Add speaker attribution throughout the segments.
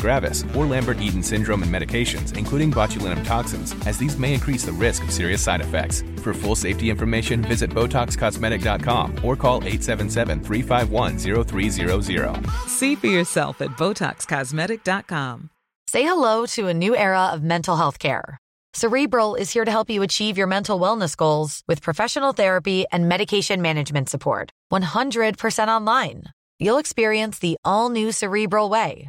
Speaker 1: gravis, or Lambert Eaton syndrome, and medications, including botulinum toxins, as these may increase the risk of serious side effects. For full safety information, visit BotoxCosmetic.com or call 877 351 0300.
Speaker 2: See for yourself at BotoxCosmetic.com.
Speaker 3: Say hello to a new era of mental health care. Cerebral is here to help you achieve your mental wellness goals with professional therapy and medication management support. 100% online. You'll experience the all new Cerebral Way,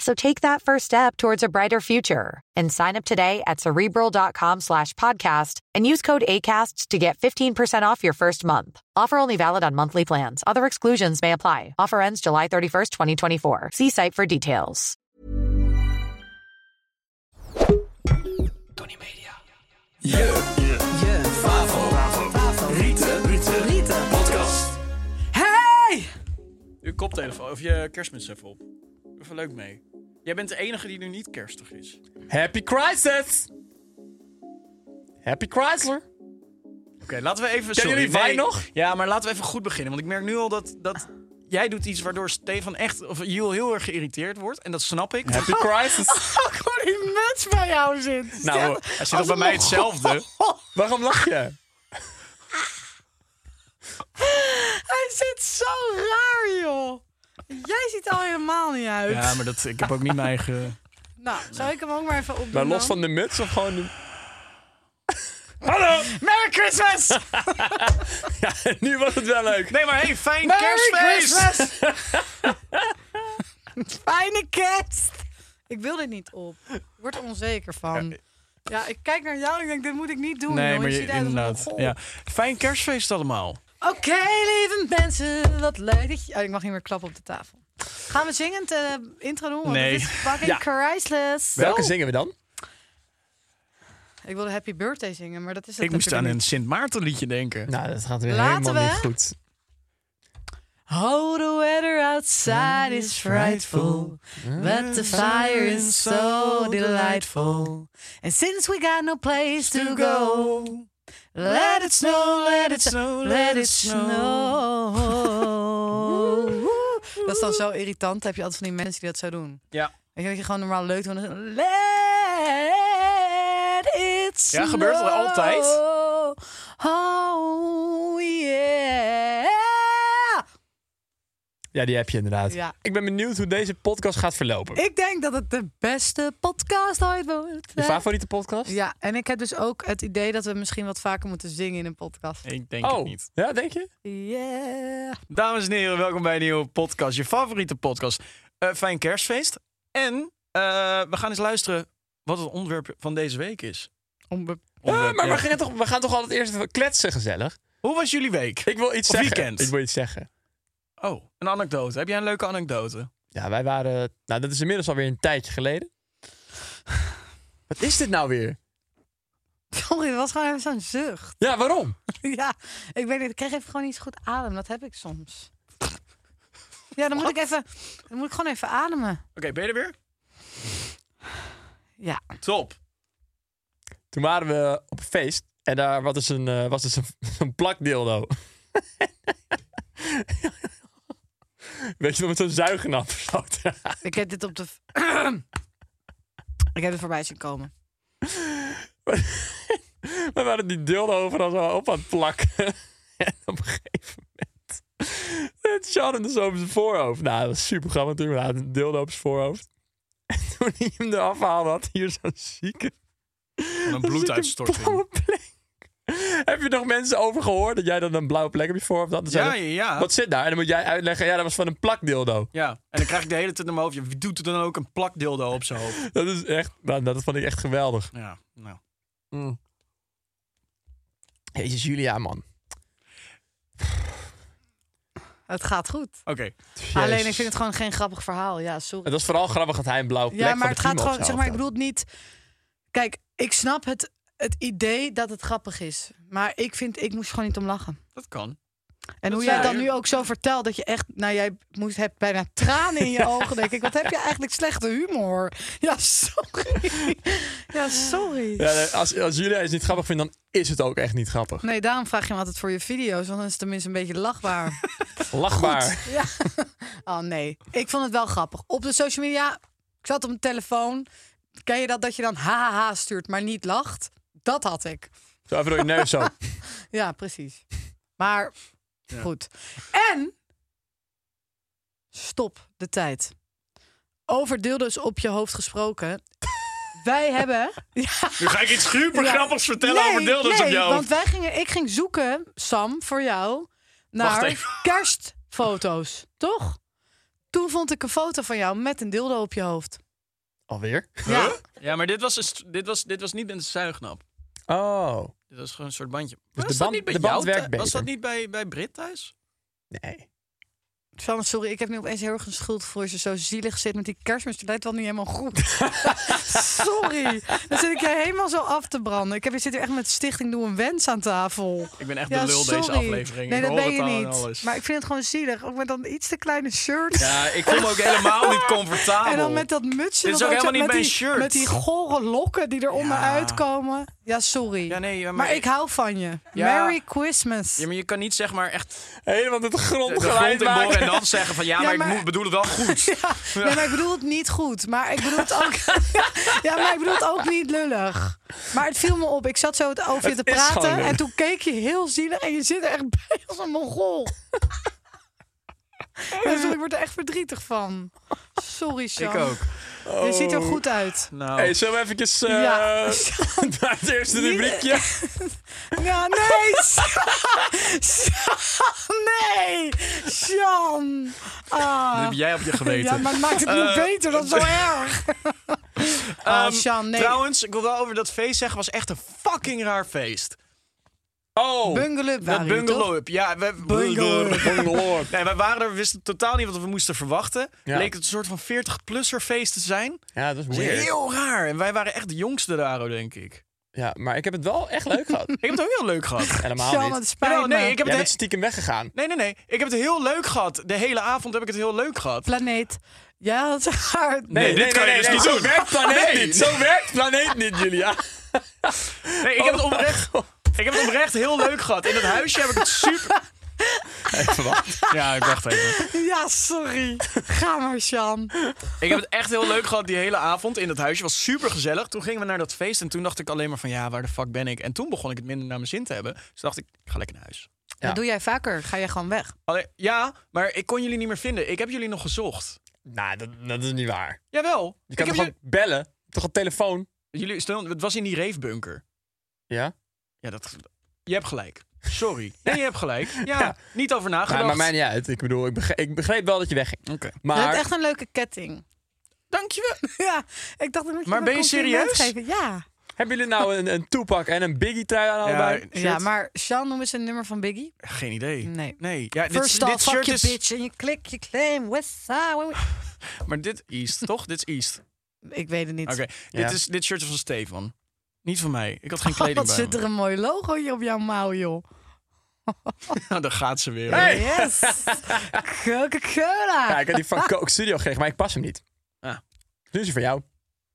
Speaker 3: So take that first step towards a brighter future and sign up today at cerebral.com slash podcast and use code ACasts to get 15% off your first month. Offer only valid on monthly plans. Other exclusions may apply. Offer ends July 31st, 2024. See site for details.
Speaker 4: Tony Media. Yeah, yeah, yeah. Favo. Rieten. Rieten. Podcast. Hey! Uw koptelefoon of je kerstmuts even op. Even leuk mee. Jij bent de enige die nu niet kerstig is.
Speaker 5: Happy Crisis! Happy Chrysler!
Speaker 4: Oké, laten we even...
Speaker 5: Kennen jullie Wijn nog?
Speaker 4: Ja, maar laten we even goed beginnen. Want ik merk nu al dat... dat jij doet iets waardoor Stefan echt... Of Jules heel erg geïrriteerd wordt. En dat snap ik.
Speaker 5: Happy Crisis!
Speaker 6: Gewoon die muts bij jou zit.
Speaker 4: Nou, hij zit ook bij mij hetzelfde.
Speaker 5: Waarom lach je?
Speaker 6: Hij zit zo raar, joh. Jij ziet er al helemaal niet uit.
Speaker 4: Ja, maar dat, ik heb ook niet mijn eigen...
Speaker 6: Nou, zal ik hem ook maar even opdoen
Speaker 5: Nou, los
Speaker 6: dan?
Speaker 5: van de muts of gewoon... de-
Speaker 4: Hallo!
Speaker 6: Merry Christmas!
Speaker 5: Ja, nu was het wel leuk.
Speaker 4: Nee, maar hey, fijn
Speaker 6: Merry
Speaker 4: kerstfeest!
Speaker 6: Christmas! Fijne kerst! Ik wil dit niet op. Ik word er onzeker van. Ja, ik kijk naar jou en ik denk, dit moet ik niet doen.
Speaker 4: Nee,
Speaker 6: joh.
Speaker 4: maar
Speaker 6: je
Speaker 4: je,
Speaker 6: ziet uit als een
Speaker 4: inderdaad.
Speaker 6: Mongool.
Speaker 4: Ja. Fijn kerstfeest allemaal.
Speaker 6: Oké, lieve mensen, wat leuk dat je... Oh, ik mag niet meer klappen op de tafel. Gaan we zingend eh intro doen? Want
Speaker 4: Nee.
Speaker 6: het is fucking
Speaker 5: Ja.
Speaker 6: Christless.
Speaker 5: Welke zingen we dan?
Speaker 6: Ik wilde Happy Birthday zingen, maar dat is het
Speaker 4: Ik moest aan
Speaker 6: natuurlijk
Speaker 4: een Sint Maarten liedje denken.
Speaker 5: Nou, dat gaat weer
Speaker 6: Laten helemaal we- niet
Speaker 5: goed.
Speaker 6: Oh, the weather outside is frightful, but the fire is so delightful. And since we got no place to go, let it snow, let it snow, let it snow. Dat is dan zo irritant. Heb je altijd van die mensen die dat zo doen?
Speaker 4: Ja.
Speaker 6: Weet je dat je gewoon normaal leuk doet? en dan- Let it snow.
Speaker 4: Ja, gebeurt er altijd.
Speaker 6: Oh yeah.
Speaker 5: Ja, die heb je inderdaad.
Speaker 6: Ja.
Speaker 5: Ik ben benieuwd hoe deze podcast gaat verlopen.
Speaker 6: Ik denk dat het de beste podcast ooit wordt.
Speaker 5: Je favoriete podcast?
Speaker 6: Ja, en ik heb dus ook het idee dat we misschien wat vaker moeten zingen in een podcast.
Speaker 4: Ik denk
Speaker 5: Oh,
Speaker 4: het niet.
Speaker 5: ja, denk je?
Speaker 6: Yeah.
Speaker 4: Dames en heren, welkom bij een nieuwe podcast. Je favoriete podcast. Eh, fijn kerstfeest. En eh, we gaan eens luisteren wat het onderwerp van deze week is.
Speaker 6: Onbe-
Speaker 5: Ja,
Speaker 4: Onderwerp,
Speaker 5: Ah, Eh, maar
Speaker 4: ja.
Speaker 5: We, gaan toch, we gaan toch altijd eerst even kletsen gezellig?
Speaker 4: Hoe was jullie week?
Speaker 5: Ik wil iets
Speaker 4: Of
Speaker 5: zeggen.
Speaker 4: weekend.
Speaker 5: Ik wil iets zeggen.
Speaker 4: Oh, een anekdote. Heb jij een leuke anekdote?
Speaker 5: Ja, wij waren... Nou, dat is inmiddels alweer een tijdje geleden. Wat is dit nou weer?
Speaker 6: Sorry, dat was gewoon even zo'n zucht.
Speaker 5: Ja, waarom?
Speaker 6: ja, ik weet niet, ik kreeg even gewoon niet zo goed adem. Dat heb ik soms. Ja, dan moet ik even, dan moet ik gewoon even ademen.
Speaker 4: Oké, ben je er weer?
Speaker 6: Ja.
Speaker 4: Top.
Speaker 5: Toen waren we op een feest en daar was dus een, eh, was dus een, een plakdildo. Weet je nog met zo'n zuignap gesloten?
Speaker 6: Ik heb dit op de. ik heb het voorbij zien komen.
Speaker 5: We waren die dildo overal zo op aan het plakken. en op een gegeven moment... Het Sean hem dus over zijn voorhoofd. Nou, dat was super grappig natuurlijk. Maar hij had een dildo op zijn voorhoofd. En toen hij hem eraf haalde, had hij hier zo'n zieke...
Speaker 4: Van een
Speaker 5: zo'n zieke blauwe
Speaker 4: bloeduitstorting.
Speaker 5: plek. Heb je nog mensen over gehoord dat jij dan een blauwe plek op je voorhoofd had? Dan
Speaker 4: Ja, ja,
Speaker 5: zeiden,
Speaker 4: ja.
Speaker 5: Wat zit daar? En dan moet jij uitleggen, ja, dat was van een plakdildo.
Speaker 4: Ja, en dan krijg ik de hele tijd in mijn hoofd. je- Wie doet er dan ook een plakdildo op zijn hoofd?
Speaker 5: Dat is echt, nou, dat vond ik echt geweldig.
Speaker 4: Ja, nou.
Speaker 5: Jezus, Julia, man.
Speaker 6: Het gaat goed.
Speaker 4: Oké.
Speaker 6: Alleen ik vind het gewoon geen grappig verhaal. Ja, sorry.
Speaker 5: Het was vooral grappig dat hij een blauwe plek
Speaker 6: Ja, maar
Speaker 5: van
Speaker 6: het
Speaker 5: de
Speaker 6: gaat
Speaker 5: Timo op
Speaker 6: gewoon, zeg
Speaker 5: zijn
Speaker 6: maar, ik
Speaker 5: hoofd
Speaker 6: bedoel het niet. Kijk, ik snap het, het idee dat het grappig is. Maar ik vind, ik moest gewoon niet om lachen.
Speaker 4: Dat kan.
Speaker 6: En hoe
Speaker 4: zei
Speaker 6: jij dan
Speaker 4: je.
Speaker 6: nu ook zo vertelt dat je echt, nou jij moest, hebt bijna tranen in je ogen, denk ik. Wat heb je eigenlijk slechte humor? Ja, sorry. Ja, sorry.
Speaker 5: had. Ja, nee, als, als Julia het niet grappig vindt, dan is het ook echt niet grappig.
Speaker 6: Nee, daarom vraag je me altijd voor je video's, want dan is het tenminste een beetje lachbaar.
Speaker 5: Lachbaar.
Speaker 6: Ja. Oh nee, ik vond het wel grappig. Op de social media, ik zat op mijn telefoon. Ken je dat dat je dan haha stuurt, maar niet lacht? Dat had ik.
Speaker 5: Zo even door je neus zo.
Speaker 6: Ja, precies. Maar goed. En stop de tijd. Over dildo's op je hoofd gesproken. Wij hebben. Ja,
Speaker 4: Nu ga ik iets super grappigs vertellen
Speaker 6: nee,
Speaker 4: over dildo's
Speaker 6: nee,
Speaker 4: op jou.
Speaker 6: Want wij gingen, ik ging zoeken, Sam, voor jou
Speaker 4: Wacht even.
Speaker 6: naar kerstfoto's, toch? Toen vond ik een foto van jou met een dildo op je hoofd.
Speaker 5: Alweer?
Speaker 6: Ja,
Speaker 4: Ja, maar dit was, een st- dit, was, dit was niet een zuignap.
Speaker 5: Oh.
Speaker 4: Dit was gewoon een soort bandje.
Speaker 5: de
Speaker 6: Dus
Speaker 4: was dat
Speaker 5: band-
Speaker 4: niet bij
Speaker 5: de band
Speaker 4: jou
Speaker 5: werkt
Speaker 4: thu-
Speaker 5: beter.
Speaker 4: Was dat niet bij, bij Brit thuis?
Speaker 5: Nee.
Speaker 6: Sam, sorry, ik heb nu opeens heel erg een schuld voor als je zo zielig zit met die kerstmis. Het lijkt wel niet helemaal goed. sorry, dan zit ik je helemaal zo af te branden. Ik heb, je zit hier echt met Stichting Doe een Wens aan tafel.
Speaker 4: Ik ben echt
Speaker 6: Ja,
Speaker 4: de lul
Speaker 6: sorry.
Speaker 4: deze aflevering.
Speaker 6: Nee,
Speaker 4: ik
Speaker 6: dat
Speaker 4: hoor
Speaker 6: ben je
Speaker 4: het al en
Speaker 6: niet.
Speaker 4: Alles.
Speaker 6: Maar ik vind het gewoon zielig. Ook met dan iets te kleine shirt.
Speaker 4: Ja, ik voel me ook helemaal niet comfortabel.
Speaker 6: En dan met dat mutsje.
Speaker 4: Dit is
Speaker 6: dat
Speaker 4: ook
Speaker 6: zo-
Speaker 4: helemaal niet
Speaker 6: met
Speaker 4: mijn
Speaker 6: die,
Speaker 4: shirt.
Speaker 6: Met die gore lokken die eronder
Speaker 4: Ja.
Speaker 6: uitkomen. Ja, sorry.
Speaker 4: Ja, nee, ja, maar-
Speaker 6: maar... ik hou van je.
Speaker 4: Ja.
Speaker 6: Merry Christmas.
Speaker 4: Ja, maar je kan niet zeg maar echt
Speaker 5: Helemaal met de
Speaker 4: de
Speaker 5: grond
Speaker 4: grond
Speaker 5: gelijk
Speaker 4: inboren
Speaker 5: maken.
Speaker 4: en dan zeggen van ja, maar,
Speaker 6: maar-
Speaker 4: ik moet, bedoel het wel goed.
Speaker 6: Ja, Nee, maar ik bedoel het niet goed. Maar ik bedoel het ook, ja, maar ik bedoel het ook niet lullig. Maar het viel me op. Ik zat zo het over je te
Speaker 5: Het is gewoon
Speaker 6: praten.
Speaker 5: lullig.
Speaker 6: En toen keek je heel zielig. En je zit er echt bij als een mongool. Ja, sorry, ik word er echt verdrietig van. Sorry, Sam.
Speaker 4: Ik ook.
Speaker 6: Je ziet er goed uit.
Speaker 4: Nou,
Speaker 5: Hey, zullen we eventjes eh,
Speaker 6: Ja.
Speaker 5: naar het eerste
Speaker 6: Niet-
Speaker 5: rubriekje?
Speaker 6: Ja, nee. Sam, nee. Sam. Ah.
Speaker 4: dat heb jij op je geweten.
Speaker 6: Ja, maar het maakt het niet beter. Dat is zo erg. Ah,
Speaker 4: Ehm,
Speaker 6: Sjan, nee.
Speaker 4: Trouwens, ik wil wel over dat feest zeggen, was echt een fucking raar feest.
Speaker 5: Oh.
Speaker 6: Bungalow
Speaker 4: Dat
Speaker 6: waren jullie, toch?
Speaker 4: bungalow up. Ja, we
Speaker 6: Bungalow.
Speaker 5: Bungalore.
Speaker 4: Nee, wij waren er, we wisten totaal niet wat we moesten verwachten.
Speaker 5: Ja.
Speaker 4: Leek het een soort van 40-plusser feest te zijn.
Speaker 5: Ja, dat is
Speaker 4: Dat was
Speaker 5: weird.
Speaker 4: Heel raar. En wij waren echt de jongste daar, oh, denk ik.
Speaker 5: Ja, maar ik heb het wel echt leuk gehad.
Speaker 4: Ik heb het ook heel leuk gehad.
Speaker 5: Helemaal
Speaker 6: Sjan, het
Speaker 5: niet.
Speaker 6: spijt
Speaker 4: Jawel, nee,
Speaker 6: me.
Speaker 4: ik heb het
Speaker 5: Jij bent
Speaker 4: he-
Speaker 5: stiekem weggegaan.
Speaker 4: nee, nee, nee. Ik heb het heel leuk gehad. De hele avond heb ik het heel leuk gehad.
Speaker 6: Planeet. Ja, dat is hard.
Speaker 4: Nee, dit kan je dus niet
Speaker 5: zo
Speaker 4: doen.
Speaker 5: werkt planeet
Speaker 4: Nee.
Speaker 5: niet. Zo werkt planeet niet, Julia.
Speaker 4: Nee, ik heb het oprecht. Ik heb het oprecht heel leuk gehad. In dat huisje heb ik het super.
Speaker 5: Even wachten.
Speaker 4: Ja, ik wacht even.
Speaker 6: Ja, sorry. Ga maar, Sjan.
Speaker 4: Ik heb het echt heel leuk gehad die hele avond in dat huisje. Was super gezellig. Toen gingen we naar dat feest en toen dacht ik alleen maar van ja, waar de fuck ben ik? En toen begon ik het minder naar mijn zin te hebben. Dus dacht ik, ik ga lekker naar huis.
Speaker 6: Dat doe jij vaker. Ga jij gewoon weg.
Speaker 4: Allee, ja, maar ik kon jullie niet meer vinden. Ik heb jullie nog gezocht.
Speaker 5: Nou, dat, dat is niet waar.
Speaker 4: Jawel.
Speaker 5: Je
Speaker 4: Ik
Speaker 5: kan
Speaker 4: heb
Speaker 5: toch ook bellen? Toch op telefoon?
Speaker 4: jullie, jullie stonden- het was in die reefbunker.
Speaker 5: Ja.
Speaker 4: Ja, dat. Je hebt gelijk. Sorry. Nee, je hebt gelijk. Ja, niet over nagedacht.
Speaker 5: Maar, maar mij niet uit. Ik bedoel, ik begreep, ik begreep wel dat je wegging.
Speaker 4: Oké.
Speaker 6: Je
Speaker 5: Maar
Speaker 6: hebt echt een leuke ketting.
Speaker 4: Dankjewel.
Speaker 6: Ja, ik dacht dat ik
Speaker 4: Maar
Speaker 6: een
Speaker 4: ben je
Speaker 6: compliment
Speaker 4: serieus?
Speaker 6: Geven. Ja.
Speaker 5: hebben jullie nou een, een Tupac en een Biggie trui aan allebei?
Speaker 4: Shit.
Speaker 6: ja, maar Sjan, noem eens een nummer van Biggie.
Speaker 4: Geen idee.
Speaker 6: Nee.
Speaker 4: Nee. Ja, dit,
Speaker 6: First off,
Speaker 4: dit
Speaker 6: fuck
Speaker 4: shirt
Speaker 6: je
Speaker 4: is...
Speaker 6: bitch en je klik je claim. Westside. wait, wait.
Speaker 4: Maar dit East, toch? Dit is East.
Speaker 6: Ik weet het niet.
Speaker 4: Oké.
Speaker 5: Ja.
Speaker 4: Dit, is- dit shirt is van Stefan. Niet van mij. Ik had geen
Speaker 6: Oh,
Speaker 4: kleding
Speaker 6: wat
Speaker 4: bij
Speaker 6: zit
Speaker 4: me.
Speaker 6: er een mooi logo hier op jouw mouw, joh.
Speaker 4: Nou, daar gaat ze weer.
Speaker 5: Hey!
Speaker 6: Yes. Coca-Cola.
Speaker 5: Ja, ik had die van Coke Studio gekregen, maar ik pas hem niet.
Speaker 4: Ah.
Speaker 5: Dus die voor jou.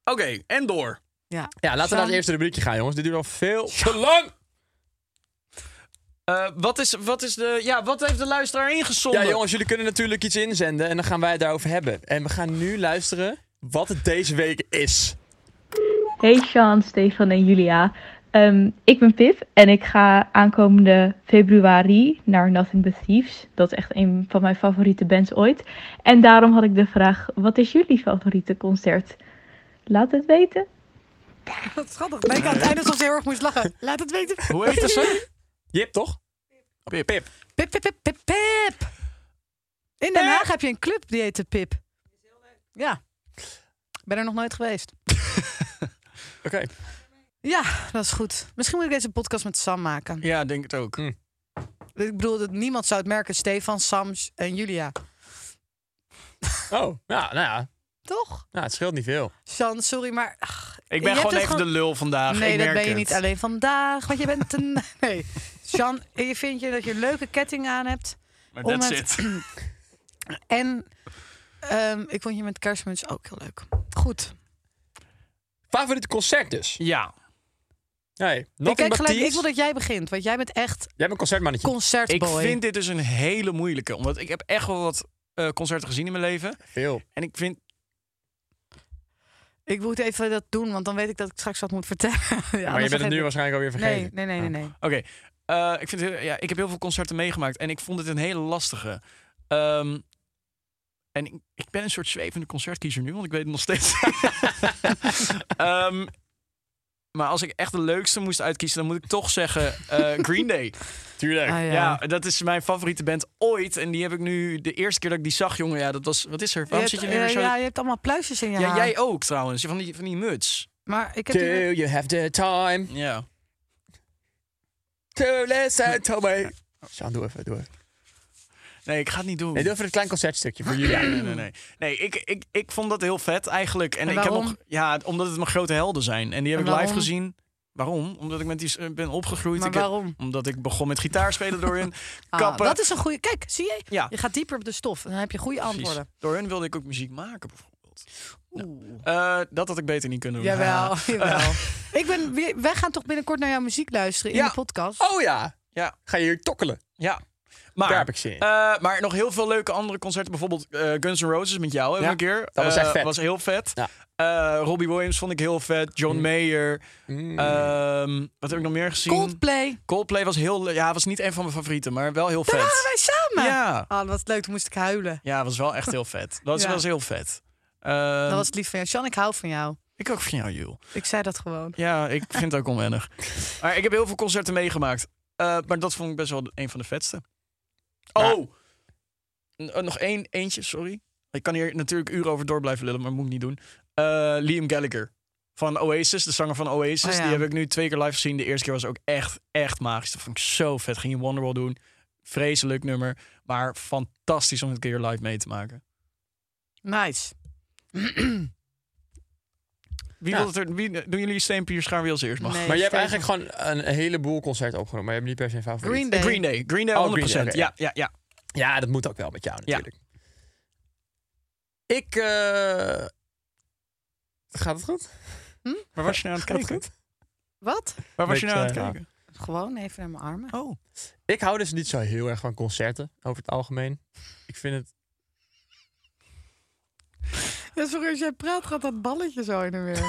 Speaker 4: Oké, en door.
Speaker 6: Ja,
Speaker 5: Ja, laten we naar
Speaker 6: Sjan,
Speaker 5: het eerste rubriekje gaan, jongens. Dit duurt al veel te lang.
Speaker 4: Eh, wat, is, wat is de... Ja, wat heeft de luisteraar ingezonden?
Speaker 5: Ja, jongens, jullie kunnen natuurlijk iets inzenden en dan gaan wij het daarover hebben. En we gaan nu luisteren wat het deze week is.
Speaker 7: Hey Sean, Stefan en Julia. Ehm, ik ben Pip en ik ga aankomende februari naar Nothing But Thieves. Dat is echt een van mijn favoriete bands ooit. En daarom had ik de vraag, wat is jullie favoriete concert? Laat het weten.
Speaker 6: Wat schattig. Ben ik aan het einde alsof ze heel erg moest lachen. Laat het weten.
Speaker 4: Hoe heet ze?
Speaker 5: Jip, toch? Pip. Pip.
Speaker 6: Pip, pip, pip, pip, pip. In Den Haag heb je een club die heet de Pip. Ja. Ik ben er nog nooit geweest.
Speaker 5: Oké.
Speaker 6: Ja, dat is goed. Misschien moet ik deze podcast met Sam maken.
Speaker 4: Ja, denk het ook.
Speaker 5: Hm.
Speaker 6: Ik bedoel, dat niemand zou het merken. Stefan, Sam en Julia.
Speaker 5: Oh, nou, nou ja.
Speaker 6: Toch?
Speaker 5: Nou, het scheelt niet veel.
Speaker 6: San, sorry, maar... ach,
Speaker 4: Ik
Speaker 6: je
Speaker 4: ben
Speaker 6: hebt
Speaker 4: gewoon
Speaker 6: het
Speaker 4: even de lul vandaag.
Speaker 6: Nee,
Speaker 4: ik
Speaker 6: dat
Speaker 4: merk
Speaker 6: ben je
Speaker 4: het.
Speaker 6: niet alleen vandaag. Want je bent een... Nee. Sjan, je vindt je dat je een leuke ketting aan hebt.
Speaker 4: Maar
Speaker 6: om
Speaker 4: that's
Speaker 6: het-
Speaker 4: it.
Speaker 6: En ehm, ik vond je met kerstmuts ook heel leuk. Goed.
Speaker 5: Favoriete concert dus?
Speaker 4: Ja,
Speaker 5: Nee.
Speaker 6: Ik,
Speaker 5: Nothing
Speaker 6: kijk
Speaker 5: But
Speaker 6: gelijk, ik
Speaker 5: Thieves.
Speaker 6: wil dat jij begint. Want jij bent echt
Speaker 5: Jij bent een concertmannetje.
Speaker 4: ik
Speaker 6: concertboy.
Speaker 4: vind dit dus een hele moeilijke. Omdat ik heb echt wel wat eh, concerten gezien in mijn leven.
Speaker 5: veel.
Speaker 4: En ik vind...
Speaker 6: Ik moet even dat doen, want dan weet ik dat ik straks wat moet vertellen. Ja,
Speaker 5: maar je
Speaker 6: anders
Speaker 5: bent het nu
Speaker 6: vergeet
Speaker 5: waarschijnlijk alweer
Speaker 6: ik-
Speaker 5: vergeten.
Speaker 6: Nee, nee, nee, nee. nee.
Speaker 4: Oké, eh, ik, vind het- ja, ik heb heel veel concerten meegemaakt. En ik vond het een hele lastige. Ehm, en ik, ik ben een soort zwevende concertkiezer nu, want ik weet het nog steeds. Ehm, maar als ik echt de leukste moest uitkiezen, dan moet ik toch zeggen eh, Green Day.
Speaker 5: Tuurlijk.
Speaker 6: Ah, ja.
Speaker 4: Ja, dat is mijn favoriete band ooit. En die heb ik nu de eerste keer dat ik die zag, jongen. Ja, dat was. Wat is er? Waarom
Speaker 6: hebt-
Speaker 4: zit je nu weer
Speaker 6: eh,
Speaker 4: zo?
Speaker 6: Ja,
Speaker 4: Ja,
Speaker 6: je hebt allemaal pluisjes in je haar.
Speaker 4: jij ook trouwens. Van die, van die muts.
Speaker 6: Maar ik heb
Speaker 5: Do
Speaker 6: hier...
Speaker 5: you have the time
Speaker 4: Ja.
Speaker 5: to listen to me? Sjaan, doe even, doe even.
Speaker 4: Nee, ik ga het niet doen.
Speaker 5: Nee, doe even een klein concertstukje voor jullie.
Speaker 4: Ja, nee, nee, nee. Nee, ik, ik, ik vond dat heel vet eigenlijk. En,
Speaker 6: En
Speaker 4: ik heb
Speaker 6: waarom?
Speaker 4: nog. Ja, omdat het mijn grote helden zijn. En die heb
Speaker 6: En
Speaker 4: ik live
Speaker 6: waarom?
Speaker 4: gezien. Waarom? Omdat ik met die s- eh, ben opgegroeid.
Speaker 6: Maar
Speaker 4: Ik heb-
Speaker 6: waarom?
Speaker 4: omdat ik begon met gitaarspelen door hun.
Speaker 6: Ah,
Speaker 4: Kappen.
Speaker 6: dat is een goede. Kijk, zie je?
Speaker 4: Ja.
Speaker 6: Je gaat dieper op de stof. Dan heb je goede
Speaker 4: Precies.
Speaker 6: antwoorden.
Speaker 4: Door hun wilde ik ook muziek maken bijvoorbeeld.
Speaker 6: Oeh.
Speaker 4: Eh, dat had ik beter niet kunnen doen.
Speaker 6: Jawel,
Speaker 4: Ah.
Speaker 6: jawel. ik ben, weer- wij gaan toch binnenkort naar jouw muziek luisteren in
Speaker 4: Ja.
Speaker 6: de podcast.
Speaker 5: Oh ja.
Speaker 4: Ja.
Speaker 5: Ga je hier tokkelen?
Speaker 4: Ja. Maar,
Speaker 5: Daar heb ik zin in.
Speaker 4: eh, maar nog heel veel leuke andere concerten. Bijvoorbeeld eh, Guns N' Roses met jou hebben
Speaker 5: Ja,
Speaker 4: een keer.
Speaker 5: dat was
Speaker 4: Eh,
Speaker 5: echt vet.
Speaker 4: was heel vet.
Speaker 5: Ja. Mm.
Speaker 4: Eh, Robbie Williams vond ik heel vet. John Mayer. Ehm, wat heb ik nog meer gezien?
Speaker 6: Coldplay.
Speaker 4: Coldplay was heel... le- Ja, was niet een van mijn favorieten, maar wel heel
Speaker 6: Daar waren
Speaker 4: vet.
Speaker 6: wij samen.
Speaker 4: Ja.
Speaker 6: Ah, wat leuk. Toen moest ik huilen.
Speaker 4: Ja, was wel echt heel vet. Dat was,
Speaker 6: Ja.
Speaker 4: was heel vet.
Speaker 6: Dat
Speaker 4: Ehm,
Speaker 6: was lief van jou. Sjan, ik hou van jou.
Speaker 4: Ik ook van jou, Jules.
Speaker 6: Ik zei dat gewoon.
Speaker 4: Ja, ik vind het ook onwennig. Maar ik heb heel veel concerten meegemaakt. Eh, maar dat vond ik best wel een van de vetste. Oh! N- eh, nog één, eentje, sorry. Ik kan hier natuurlijk uren over door blijven lullen, maar moet ik niet doen. Eh, Liam Gallagher van Oasis, de zanger van Oasis.
Speaker 6: Oh ja.
Speaker 4: Die heb ik nu twee keer live gezien. De eerste keer was ook echt, echt magisch. Dat vond ik zo vet. Ging je Wonderwall doen. Vreselijk nummer. Maar fantastisch om het een keer live mee te maken.
Speaker 6: Nice.
Speaker 4: Wie
Speaker 5: Ja.
Speaker 4: wil het er, wie, doen jullie Steenpier Schaarwiel als eerst? Mag?
Speaker 6: Nee,
Speaker 5: Maar je hebt
Speaker 6: Stefan.
Speaker 5: eigenlijk gewoon een heleboel concerten opgenomen. Maar je hebt niet per se een favoriet.
Speaker 4: Eh,
Speaker 6: Green Day.
Speaker 4: Green Day. Green Day 100%.
Speaker 5: Oh, Green Day, oké,
Speaker 4: ja, ja, ja.
Speaker 5: Ja, dat moet ook wel met jou natuurlijk. Ik... eh, Gaat het goed?
Speaker 4: Waar was je nou aan het
Speaker 5: Gaat
Speaker 4: kijken?
Speaker 5: het goed?
Speaker 6: Wat?
Speaker 4: Waar was je
Speaker 5: Niks,
Speaker 4: nou aan het
Speaker 5: eh,
Speaker 4: kijken?
Speaker 6: Gewoon even naar mijn armen.
Speaker 4: Oh.
Speaker 5: Ik hou dus niet zo heel erg van concerten, over het algemeen. Ik vind het...
Speaker 6: Ja, sorry, als jij praat gaat dat balletje zo in de weer.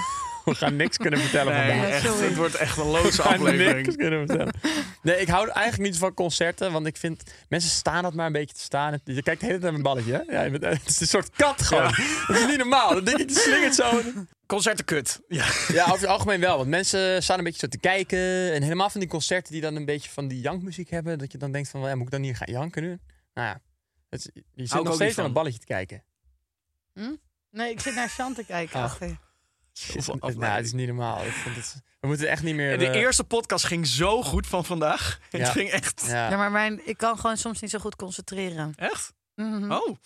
Speaker 5: We gaan niks kunnen vertellen vandaag.
Speaker 6: echt, sorry. het
Speaker 4: wordt echt een
Speaker 5: We
Speaker 4: loze
Speaker 5: gaan niks kunnen vertellen. Nee, ik hou eigenlijk niet van concerten, want ik vind... Mensen staan dat maar een beetje te staan. Je kijkt de hele tijd naar mijn balletje, hè? Ja, je bent- het is een soort kat gewoon. Dat is niet normaal. Dat dingetje slingert zo.
Speaker 4: Concerten kut. Ja.
Speaker 5: Ja, over het algemeen wel. Want mensen staan een beetje zo te kijken. En helemaal van die concerten die dan een beetje van die jankmuziek hebben. Dat je dan denkt van, ja, moet ik dan hier gaan janken nu? Nou ja, het, is- je
Speaker 4: ik
Speaker 5: zit
Speaker 4: ook
Speaker 5: nog steeds
Speaker 4: niet
Speaker 5: aan een
Speaker 4: van.
Speaker 5: balletje te kijken.
Speaker 6: Nee, ik zit naar Sjan te kijken.
Speaker 5: Ah.
Speaker 6: achter je.
Speaker 5: Het- het- nou, het is niet normaal. Ik vind het, we moeten echt niet meer...
Speaker 4: De
Speaker 5: eh,
Speaker 4: eerste podcast ging zo goed van vandaag. Het
Speaker 5: Ja.
Speaker 4: ging echt...
Speaker 5: Ja.
Speaker 6: Ja, maar mijn, ik kan gewoon soms niet zo goed concentreren.
Speaker 4: Echt?
Speaker 6: Mhm.
Speaker 4: Oh.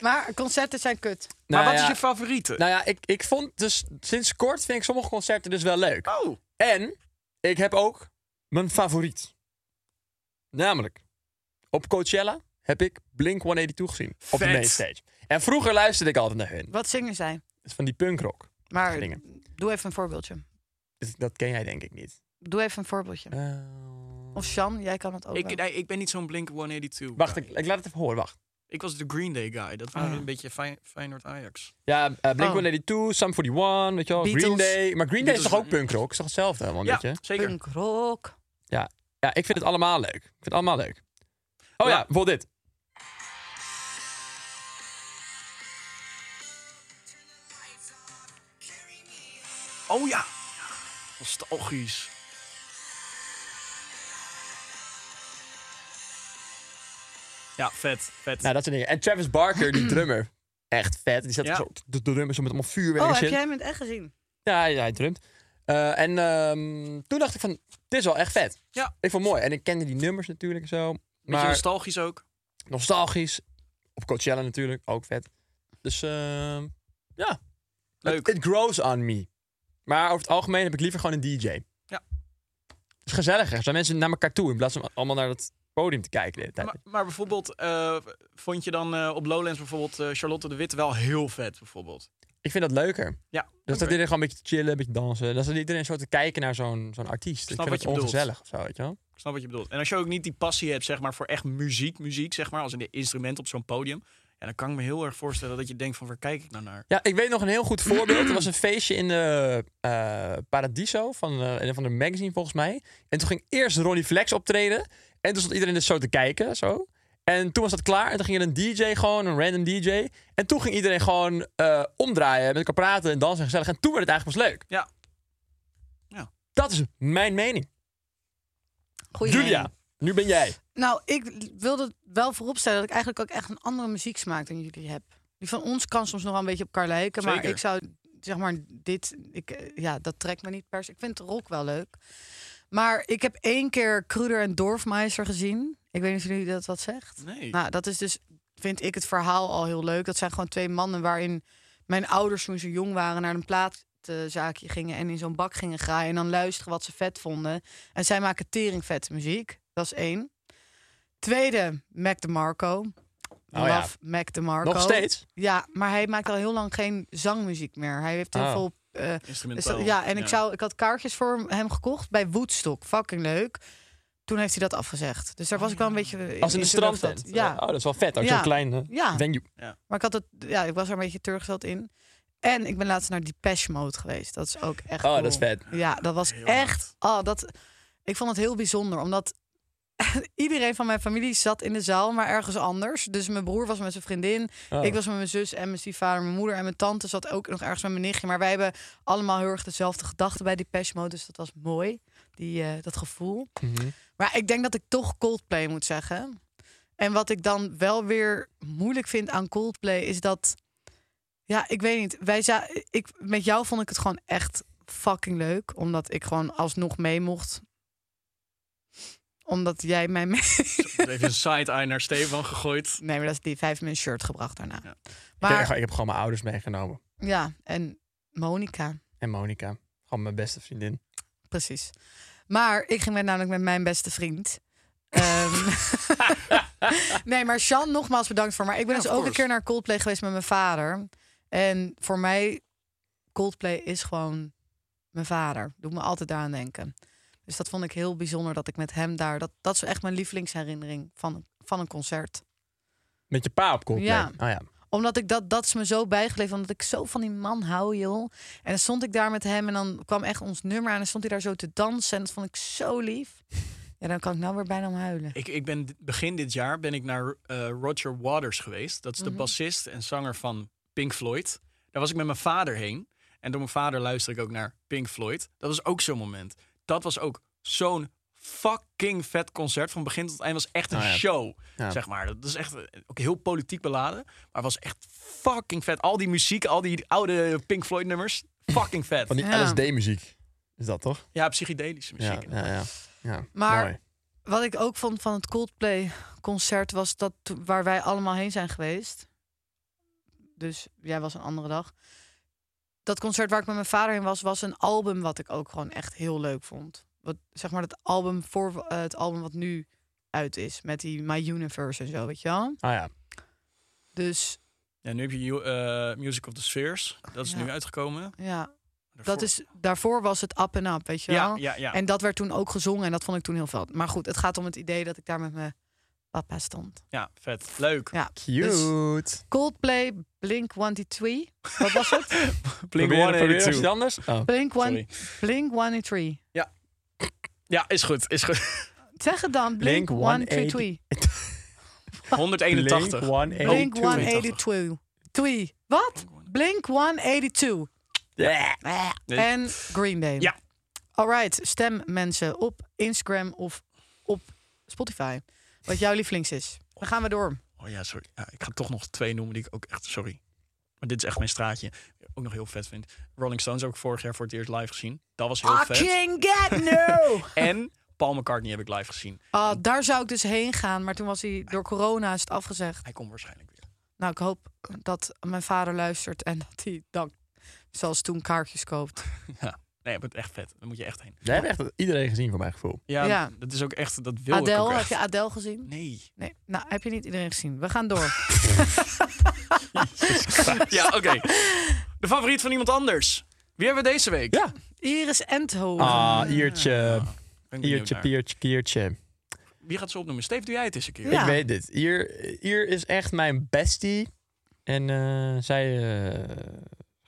Speaker 6: Maar concerten zijn kut.
Speaker 4: maar
Speaker 5: Nou
Speaker 4: wat
Speaker 5: ja,
Speaker 4: is je favoriete?
Speaker 5: Nou ja, ik, ik vond dus sinds kort vind ik sommige concerten dus wel leuk.
Speaker 4: oh.
Speaker 5: En ik heb ook mijn favoriet. Namelijk, op Coachella heb ik Blink-182 gezien. Op de
Speaker 4: Vet.
Speaker 5: mainstage. En vroeger luisterde ik altijd naar hun. Dat
Speaker 6: Wat zingen zij?
Speaker 5: is van die punkrock.
Speaker 6: Maar
Speaker 5: Dingen.
Speaker 6: doe even een voorbeeldje.
Speaker 5: Dus dat ken jij denk ik niet.
Speaker 6: Doe even een voorbeeldje.
Speaker 5: Eh,
Speaker 6: Of Sjan, jij kan het ook.
Speaker 4: Ik,
Speaker 6: wel.
Speaker 5: oh,
Speaker 4: nee, ik ben niet zo'n Blink 182.
Speaker 5: wacht, ik, ik laat het even horen. Wacht.
Speaker 4: Ik was de Green Day guy. Dat
Speaker 5: Ah.
Speaker 4: waren een beetje Fey- Feyenoord-Ajax.
Speaker 5: Ja, eh, Blink-182, Sum 41, weet je wel,
Speaker 6: Beatles.
Speaker 5: Green Day. Maar Green Day is
Speaker 4: Beatles.
Speaker 5: toch ook punkrock? Is toch hetzelfde helemaal,
Speaker 4: Ja,
Speaker 5: weet je?
Speaker 4: zeker.
Speaker 6: Punkrock.
Speaker 5: Ja. ja, ik vind het allemaal leuk. Ik vind het allemaal leuk. Oh ja,
Speaker 4: Ja.
Speaker 5: bijvoorbeeld dit.
Speaker 4: Oh ja. Nostalgisch. Ja, vet, vet.
Speaker 5: Nou, dat soort dingen. En Travis Barker, die drummer. Echt vet. Die zet
Speaker 4: Ja.
Speaker 5: zo de drummer zo met allemaal vuurwerk
Speaker 6: Oh,
Speaker 5: en
Speaker 6: heb
Speaker 5: shit.
Speaker 6: jij hem in het echt gezien?
Speaker 5: Ja, hij, hij drumt. Eh, en ehm, toen dacht ik van, dit is wel echt vet.
Speaker 4: Ja.
Speaker 5: Ik vond het mooi. En ik kende die nummers natuurlijk en zo.
Speaker 4: beetje
Speaker 5: Maar
Speaker 4: nostalgisch ook.
Speaker 5: nostalgisch. Op Coachella natuurlijk, ook vet. Dus ehm, ja.
Speaker 4: Leuk.
Speaker 5: It, it grows on me. Maar over het algemeen heb ik liever gewoon een DJ.
Speaker 4: Ja.
Speaker 5: Het is gezelliger. Zijn mensen naar elkaar toe in plaats van allemaal naar dat podium te kijken de hele tijd.
Speaker 4: Maar, maar bijvoorbeeld, eh, vond je dan eh, op Lowlands bijvoorbeeld eh, Charlotte de Wit wel heel vet bijvoorbeeld?
Speaker 5: Ik vind dat leuker.
Speaker 4: Ja,
Speaker 5: Dat
Speaker 4: oké.
Speaker 5: staat iedereen gewoon een beetje te chillen, een beetje dansen. Dat staat iedereen zo te kijken naar zo'n zo'n artiest.
Speaker 4: Snap
Speaker 5: ik
Speaker 4: wat
Speaker 5: vind
Speaker 4: je
Speaker 5: dat
Speaker 4: bedoelt.
Speaker 5: ongezellig of zo, weet je wel.
Speaker 4: ik snap wat je bedoelt. En als je ook niet die passie hebt zeg maar, voor echt muziek, muziek zeg maar, als in de instrumenten op zo'n podium. Ja, dan kan ik me heel erg voorstellen dat je denkt van waar kijk ik nou naar?
Speaker 5: Ja, ik weet nog een heel goed voorbeeld. Er was een feestje in de eh, Paradiso van eh, een van de magazine volgens mij. En toen ging eerst Ronnie Flex optreden. En toen stond iedereen dus zo te kijken, zo. En toen was dat klaar. En toen ging er een DJ gewoon, een random DJ. En toen ging iedereen gewoon eh, omdraaien, met elkaar praten en dansen en gezellig. En toen werd het eigenlijk pas leuk.
Speaker 4: Ja. Ja.
Speaker 5: Dat is mijn mening.
Speaker 6: Goeie
Speaker 5: Julia,
Speaker 6: mening.
Speaker 5: nu ben jij.
Speaker 6: Nou, ik wilde wel vooropstellen dat ik eigenlijk ook echt een andere muzieksmaak dan jullie heb. Die van ons kan soms nog wel een beetje op elkaar lijken, maar
Speaker 4: Zeker.
Speaker 6: ik zou zeg maar dit, ik, eh, ja, dat trekt me niet per se. Ik vind rock wel leuk, maar ik heb één keer Kruder en Dorfmeister gezien. Ik weet niet of jullie dat wat zegt.
Speaker 4: Nee.
Speaker 6: Nou, dat is dus, vind ik het verhaal al heel leuk. Dat zijn gewoon twee mannen waarin mijn ouders toen ze jong waren naar een plaatzaakje gingen en in zo'n bak gingen graaien en dan luisteren wat ze vet vonden. En zij maken teringvette muziek. Dat is één. Tweede, Mac DeMarco.
Speaker 5: Oh ja.
Speaker 6: Love Mac DeMarco.
Speaker 5: Nog steeds?
Speaker 6: Ja, maar hij maakt al heel lang geen zangmuziek meer. Hij heeft heel
Speaker 5: Oh.
Speaker 6: veel... eh,
Speaker 4: Instrumentaal.
Speaker 6: is dat- ja, en Ik, zou, ik had kaartjes voor hem gekocht bij Woodstock. Fucking leuk. Toen heeft hij dat afgezegd. Dus daar was ik wel een beetje...
Speaker 5: Als in de
Speaker 6: teleurgesteld.
Speaker 5: strandtent.
Speaker 6: Ja.
Speaker 5: Oh, dat is wel vet. Ook
Speaker 6: Ja.
Speaker 5: zo'n klein eh,
Speaker 6: Ja.
Speaker 5: venue.
Speaker 6: Maar ik, had het, ja, ik was er een beetje teleurgesteld in. En ik ben laatst naar Depeche Mode geweest. Dat is ook echt
Speaker 5: Oh,
Speaker 6: cool.
Speaker 5: dat is vet.
Speaker 6: Ja, dat was echt... Oh, dat, ik vond het heel bijzonder, omdat... Iedereen van mijn familie zat in de zaal, maar ergens anders. Dus mijn broer was met zijn vriendin.
Speaker 5: Oh.
Speaker 6: Ik was met mijn zus en mijn stiefvader. Mijn moeder en mijn tante zat ook nog ergens met mijn nichtje. Maar wij hebben allemaal heel erg dezelfde gedachten bij Depeche Mode. Dus dat was mooi, die, eh, dat gevoel.
Speaker 5: Mhm.
Speaker 6: Maar ik denk dat ik toch Coldplay moet zeggen. En wat ik dan wel weer moeilijk vind aan Coldplay is dat. Ja, ik weet niet. Wij za- ik, met jou vond ik het gewoon echt fucking leuk. Omdat ik gewoon alsnog mee mocht. Omdat jij mij mee.
Speaker 4: Even een side-eye naar Stefan gegooid.
Speaker 6: Nee, maar dat is die. Hij heeft me een shirt gebracht daarna.
Speaker 4: Ja.
Speaker 5: Ik, heb,
Speaker 6: Maar
Speaker 5: ik heb gewoon mijn ouders meegenomen.
Speaker 6: ja, en Monica.
Speaker 5: En Monica. Gewoon mijn beste vriendin.
Speaker 6: Precies. Maar ik ging met, namelijk met mijn beste vriend. Ehm, nee, maar Sjan, nogmaals bedankt voor. Maar ik ben
Speaker 4: Ja,
Speaker 6: dus
Speaker 4: of
Speaker 6: ook een
Speaker 4: course.
Speaker 6: keer naar Coldplay geweest met mijn vader. En voor mij, Coldplay is gewoon mijn vader. Doet me altijd daaraan denken. Dus dat vond ik heel bijzonder dat ik met hem daar... Dat, dat is echt mijn lievelingsherinnering van, van een concert.
Speaker 5: Met je pa op Coldplay.
Speaker 6: Ja.
Speaker 5: Oh, ja.
Speaker 6: Omdat ik dat, dat is me zo bijgebleven. Omdat ik zo van die man hou, joh. En dan stond ik daar met hem en dan kwam echt ons nummer aan. En dan stond hij daar zo te dansen. En dat vond ik zo lief. Ja, dan kan ik nou weer bijna om huilen.
Speaker 4: Ik, ik ben d- begin dit jaar ben ik naar eh, Roger Waters geweest. Dat is
Speaker 5: Mhm.
Speaker 4: de bassist en zanger van Pink Floyd. Daar was ik met mijn vader heen. En door mijn vader luister ik ook naar Pink Floyd. Dat was ook zo'n moment. Dat was ook zo'n fucking vet concert. Van begin tot eind was echt een
Speaker 5: Oh ja.
Speaker 4: show.
Speaker 5: Ja.
Speaker 4: Zeg maar. Dat is echt eh, ook heel politiek beladen. Maar was echt fucking vet. Al die muziek, al die oude Pink Floyd nummers. Fucking vet.
Speaker 5: Van die
Speaker 6: Ja.
Speaker 5: LSD-muziek. Is dat toch?
Speaker 4: Ja, psychedelische muziek.
Speaker 5: Ja, ja, ja. ja.
Speaker 6: Maar-
Speaker 5: Mooi.
Speaker 6: Wat ik ook vond van het Coldplay concert was dat to- waar wij allemaal heen zijn geweest. Dus jij was een andere dag. Dat concert waar ik met mijn vader in was, was een album wat ik ook gewoon echt heel leuk vond. Wat, zeg maar dat album voor eh, het album wat nu uit is. Met die My Universe en zo, weet je wel.
Speaker 5: Ah ja.
Speaker 6: Dus
Speaker 4: Ja, nu heb je eh, Music of the Spheres. Dat is
Speaker 6: Ja.
Speaker 4: nu uitgekomen.
Speaker 6: ja,
Speaker 4: Daarvoor-
Speaker 6: Dat is, daarvoor was het up en up, weet je
Speaker 4: Ja,
Speaker 6: wel?
Speaker 4: ja, ja.
Speaker 6: En dat werd toen ook gezongen en dat vond ik toen heel vet. Maar goed, het gaat om het idee dat ik daar met mijn papa stond.
Speaker 4: Ja, vet. Leuk.
Speaker 6: Ja.
Speaker 5: Cute. Dus
Speaker 6: Coldplay, Blink 182. Wat was het?
Speaker 4: Blink
Speaker 5: Probeer- probeer eens
Speaker 4: 182.
Speaker 5: iets anders. Oh.
Speaker 6: Blink, one,
Speaker 4: Sorry.
Speaker 6: Blink 183.
Speaker 4: Ja, is goed. Is goed.
Speaker 6: Zeg het dan. Blink,
Speaker 5: Blink
Speaker 6: 182.
Speaker 4: 181.
Speaker 6: Blink
Speaker 5: Blink 182.
Speaker 4: 182.
Speaker 6: 182. Twee. Wat? Blink 182.
Speaker 4: Ja.
Speaker 6: Eh,
Speaker 4: Nee.
Speaker 6: En Green Day.
Speaker 4: Ja.
Speaker 6: Alright, stem mensen op Instagram of op Spotify. Wat jouw lievelings is. Dan gaan we door.
Speaker 4: Oh ja, sorry. Ja, ik ga toch nog twee noemen die ik ook echt... Sorry. Maar dit is echt mijn straatje. Ook nog heel vet vind. Rolling Stones heb ik vorig jaar voor het eerst live gezien. Dat was heel
Speaker 6: I
Speaker 4: vet.
Speaker 6: can't get no.
Speaker 4: En Paul McCartney heb ik live gezien.
Speaker 6: Ah, daar zou ik dus heen gaan, maar toen was hij door corona is het afgezegd.
Speaker 4: Hij komt waarschijnlijk weer.
Speaker 6: Nou, ik hoop dat mijn vader luistert en dat hij dan, zoals toen, kaartjes koopt.
Speaker 4: Ja. Nee, maar echt vet. Daar moet je echt heen.
Speaker 5: Daar hebben echt iedereen gezien, voor mijn gevoel.
Speaker 4: Ja,
Speaker 6: Ja.
Speaker 4: dat is ook echt... Dat wil ik ook
Speaker 6: Adele, heb
Speaker 4: echt.
Speaker 6: je Adele gezien?
Speaker 4: Nee.
Speaker 6: Nee, nou heb je niet iedereen gezien. We gaan door.
Speaker 4: Ja, oké. De favoriet van iemand anders. Wie hebben we deze week?
Speaker 5: Ja.
Speaker 6: Iris Endhoven.
Speaker 5: Ah, iertje.
Speaker 4: Ben ik benieuwd
Speaker 5: Iertje,
Speaker 4: naar.
Speaker 5: piertje, piertje.
Speaker 4: Wie gaat ze opnoemen? Steve, doe jij het eens een keer.
Speaker 6: Ja.
Speaker 5: Ik weet dit. Hier, hier is echt mijn bestie. En eh, zij eh,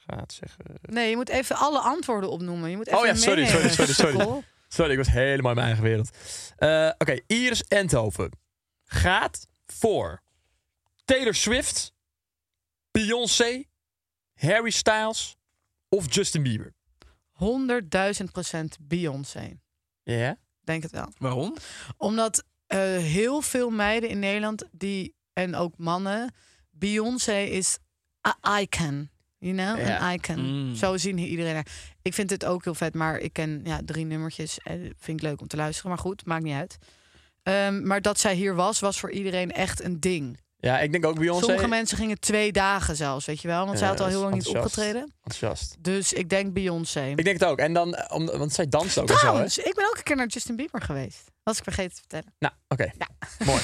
Speaker 5: gaat zeggen...
Speaker 6: Nee, je moet even alle antwoorden opnoemen. Je moet even
Speaker 5: Oh ja, sorry, sorry,
Speaker 6: meenemen,
Speaker 5: sorry, sorry.
Speaker 6: sukkel.
Speaker 5: Sorry, ik was helemaal in mijn eigen wereld. Eh, Oké, Iris Enthoven gaat voor Taylor Swift, Beyoncé, Harry Styles of Justin Bieber.
Speaker 6: 100.000 procent Beyoncé.
Speaker 5: Ja?
Speaker 6: Denk het wel.
Speaker 4: Waarom?
Speaker 6: Omdat eh, heel veel meiden in Nederland die en ook mannen, Beyoncé is a icon. You know,
Speaker 5: Ja.
Speaker 6: an icon.
Speaker 4: Mm.
Speaker 6: Zo zien hier iedereen haar. Ik vind het ook heel vet, maar ik ken ja, drie nummertjes. En vind ik leuk om te luisteren, maar goed, maakt niet uit. Ehm, maar dat zij hier was, was voor iedereen echt een ding.
Speaker 5: Ja, ik denk ook Beyoncé.
Speaker 6: Sommige mensen gingen twee dagen zelfs, weet je wel. Want zij
Speaker 5: Ja,
Speaker 6: had al
Speaker 5: dat
Speaker 6: heel
Speaker 5: is
Speaker 6: lang niet
Speaker 5: enthousiast.
Speaker 6: opgetreden.
Speaker 5: Enthousiast.
Speaker 6: Dus ik denk Beyoncé.
Speaker 5: Ik denk het ook. En dan, eh, om, want zij danst ook en zo, hè?
Speaker 6: Trouwens, ik ben ook een keer naar Justin Bieber geweest. Was ik vergeten te vertellen.
Speaker 5: Nou, oké. Mooi.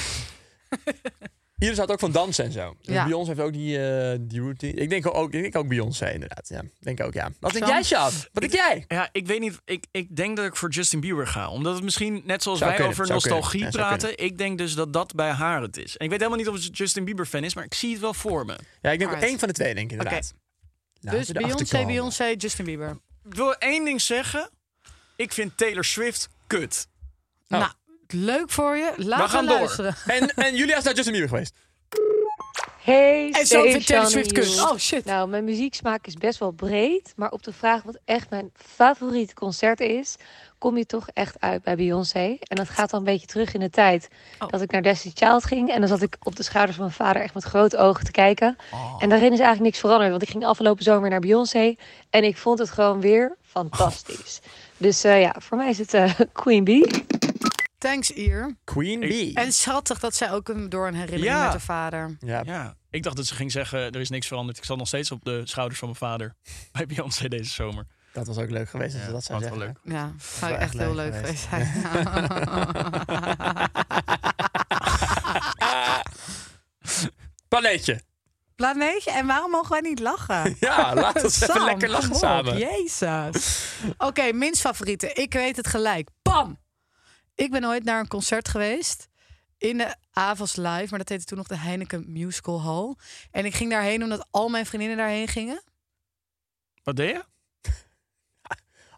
Speaker 5: Iris houdt ook van dansen en zo. Dus
Speaker 6: Ja.
Speaker 5: Beyoncé heeft ook die, eh, die routine. Ik denk ook, ik denk ook Beyoncé, inderdaad. Ja, denk ook, ja. Wat denk
Speaker 6: Sam?
Speaker 5: jij, Sjaan? Wat denk jij?
Speaker 4: Ja, ik weet niet. Ik, ik denk dat ik voor Justin Bieber ga. Omdat het misschien, net zoals
Speaker 5: Zou
Speaker 4: wij
Speaker 5: kunnen,
Speaker 4: over
Speaker 5: zou kunnen.
Speaker 4: nostalgie
Speaker 5: Ja, zou
Speaker 4: praten, ik denk dus dat dat bij haar het is. En ik weet helemaal niet of ze Justin Bieber fan is, maar ik zie het wel voor me.
Speaker 5: Ja, ik denk
Speaker 6: Alright.
Speaker 5: één van de twee, denk ik inderdaad. Laten
Speaker 6: Dus
Speaker 5: we erachter
Speaker 6: Beyoncé,
Speaker 5: komen.
Speaker 6: Beyoncé, Justin Bieber.
Speaker 4: Ik wil één ding zeggen. Ik vind Taylor Swift kut.
Speaker 5: Oh.
Speaker 6: Nou, leuk voor je. Laten we
Speaker 4: gaan door.
Speaker 6: luisteren.
Speaker 5: En, en Julia is naar Justin Bieber geweest.
Speaker 8: Hey,
Speaker 6: En zo
Speaker 8: Steve,
Speaker 6: vindt Taylor
Speaker 8: Sean
Speaker 6: Swift
Speaker 8: en
Speaker 6: kut.
Speaker 8: Joep.
Speaker 6: Oh, shit.
Speaker 8: Nou, mijn muzieksmaak is best wel breed. Maar op de vraag wat echt mijn favoriete concert is... kom je toch echt uit bij Beyoncé. En dat gaat dan een beetje terug in de tijd
Speaker 6: Oh.
Speaker 8: dat ik naar Destiny's Child ging. En dan zat ik op de schouders van mijn vader echt met grote ogen te kijken.
Speaker 6: Oh.
Speaker 8: En daarin is eigenlijk niks veranderd. Want ik ging afgelopen zomer naar Beyoncé. En ik vond het gewoon weer fantastisch. Dus eh, ja, voor mij is het eh, Queen Bee.
Speaker 6: Thanks, Ier.
Speaker 5: Queen Bee.
Speaker 6: En schattig dat zij ook een- door een herinnering
Speaker 4: Ja.
Speaker 6: met haar vader.
Speaker 5: Ja.
Speaker 4: Ja. Ik dacht dat ze ging zeggen, er is niks veranderd. Ik zat nog steeds op de schouders van mijn vader. Bij Beyoncé deze zomer.
Speaker 5: dat was ook leuk geweest als ze dat zou
Speaker 4: had wel
Speaker 5: zeggen.
Speaker 4: leuk.
Speaker 6: Ja, zou
Speaker 5: wel
Speaker 6: echt
Speaker 5: echt
Speaker 6: heel
Speaker 5: leuk
Speaker 6: leuk geweest
Speaker 5: geweest.
Speaker 6: zijn.
Speaker 5: Paletje.
Speaker 6: Planeetje, en waarom mogen wij niet lachen?
Speaker 5: Ja, laten we
Speaker 6: Ah, Sam,
Speaker 5: even lekker lachen
Speaker 6: God,
Speaker 5: samen.
Speaker 6: Jezus. Oké, minst favoriete. Ik weet het gelijk. Bam! Ik ben ooit naar een concert geweest. In de Avals Live, maar dat heette toen nog de Heineken Musical Hall. En ik ging daarheen omdat al mijn vriendinnen daarheen gingen.
Speaker 4: Wat deed je?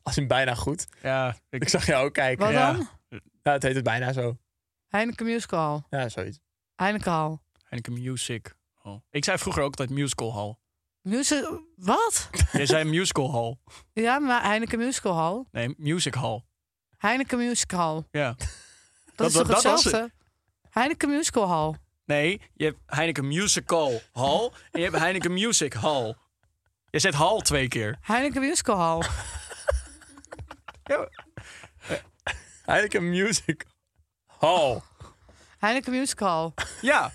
Speaker 5: Als in bijna goed.
Speaker 4: Ja, ik,
Speaker 5: Ik zag jou ook kijken.
Speaker 6: Wat
Speaker 5: ja.
Speaker 6: dan?
Speaker 5: Ja, het heet het bijna zo.
Speaker 6: Heineken Musical Hall.
Speaker 5: Ja, zoiets.
Speaker 6: Heineken Hall.
Speaker 4: Heineken Music Hall. Ik zei vroeger ook altijd Musical Hall.
Speaker 6: Music... Wat?
Speaker 4: Jij zei Musical Hall.
Speaker 6: Ja, maar Heineken Musical Hall.
Speaker 4: Nee, Music Hall.
Speaker 6: Heineken Musical Hall.
Speaker 4: Ja.
Speaker 6: Dat, is toch
Speaker 4: dat was
Speaker 6: hetzelfde? Heineken Musical Hall.
Speaker 4: Nee, je hebt Heineken Musical Hall en je hebt Heineken Music Hall. Je zet hall twee keer.
Speaker 6: Heineken Musical Hall.
Speaker 5: Eigenlijk een music hall.
Speaker 6: Heineken Musical Hall.
Speaker 4: Ja,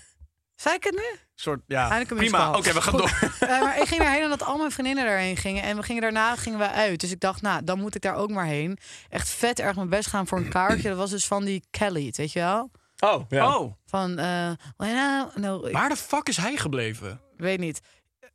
Speaker 6: Zei ik het nu?
Speaker 4: soort, ja.
Speaker 6: Heineken
Speaker 4: prima.
Speaker 6: Musical
Speaker 4: Oké,
Speaker 6: Hall.
Speaker 4: we gaan
Speaker 6: Goed.
Speaker 4: door.
Speaker 6: Eh, maar ik ging daarheen omdat al mijn vriendinnen daarheen gingen. En we gingen daarna gingen we uit. Dus ik dacht, nou, dan moet ik daar ook maar heen. Echt vet erg mijn best gaan voor een kaartje. Dat was dus van die Kelly, weet je wel?
Speaker 5: Oh, ja.
Speaker 4: Oh,
Speaker 6: Van, eh, well, nou, nou, ik
Speaker 4: waar de fuck is hij gebleven?
Speaker 6: weet niet. Eh,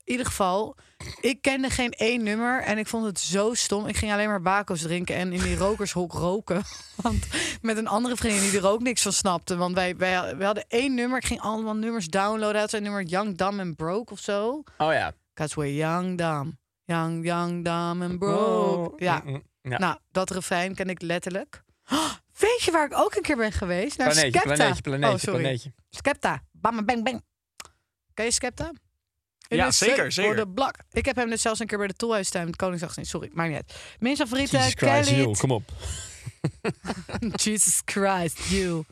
Speaker 6: in ieder geval, ik kende geen één nummer en ik vond het zo stom. Ik ging alleen maar bako's drinken en in die rokershok roken. Want met een andere vriendin die er ook niks van snapte. Want wij, wij, wij hadden één nummer. Ik ging allemaal nummers downloaden. uit zijn nummer Young, Dumb and Broke of zo.
Speaker 5: Oh ja.
Speaker 6: Cause we're young, dumb. Young, young, dumb and broke. Oh, Ja,
Speaker 5: Mm, mm, ja.
Speaker 6: nou, dat refrein ken ik letterlijk. Oh, weet je waar ik ook een keer ben geweest? Naar
Speaker 5: planeetje,
Speaker 6: Skepta.
Speaker 5: planeetje, planeetje,
Speaker 6: oh, sorry.
Speaker 5: planeetje.
Speaker 6: Skepta. Bam, bang, bang. Ken je Skepta? In
Speaker 4: Ja,
Speaker 6: het
Speaker 4: zeker,
Speaker 6: zweet
Speaker 4: zeker.
Speaker 6: Door de blak. Ik heb hem net zelfs een keer bij de Tolhuistuin met Koningsdag gezien. Sorry, maakt niet uit. Mijn favoriete,
Speaker 5: Jesus Christ,
Speaker 6: Kelly.
Speaker 5: joh, kom op.
Speaker 6: Jesus Christ, you.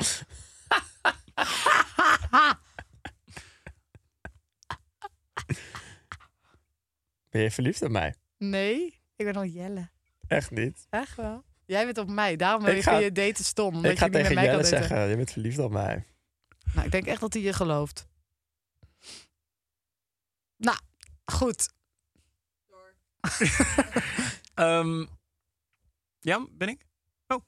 Speaker 5: Ben je verliefd op mij?
Speaker 6: Nee, ik ben al Jelle.
Speaker 5: Echt niet.
Speaker 6: Echt wel? Jij bent op mij. Daarom eh,
Speaker 5: Ik
Speaker 6: vind
Speaker 5: ga-
Speaker 6: je je daten stom. Omdat
Speaker 5: ik ga
Speaker 6: je niet met
Speaker 5: tegen
Speaker 6: mij kan
Speaker 5: Jelle
Speaker 6: daten.
Speaker 5: zeggen, je bent verliefd op mij.
Speaker 6: Nou, ik denk echt dat hij je gelooft. Nou, goed.
Speaker 4: Ehm, ja, ben ik? Oh.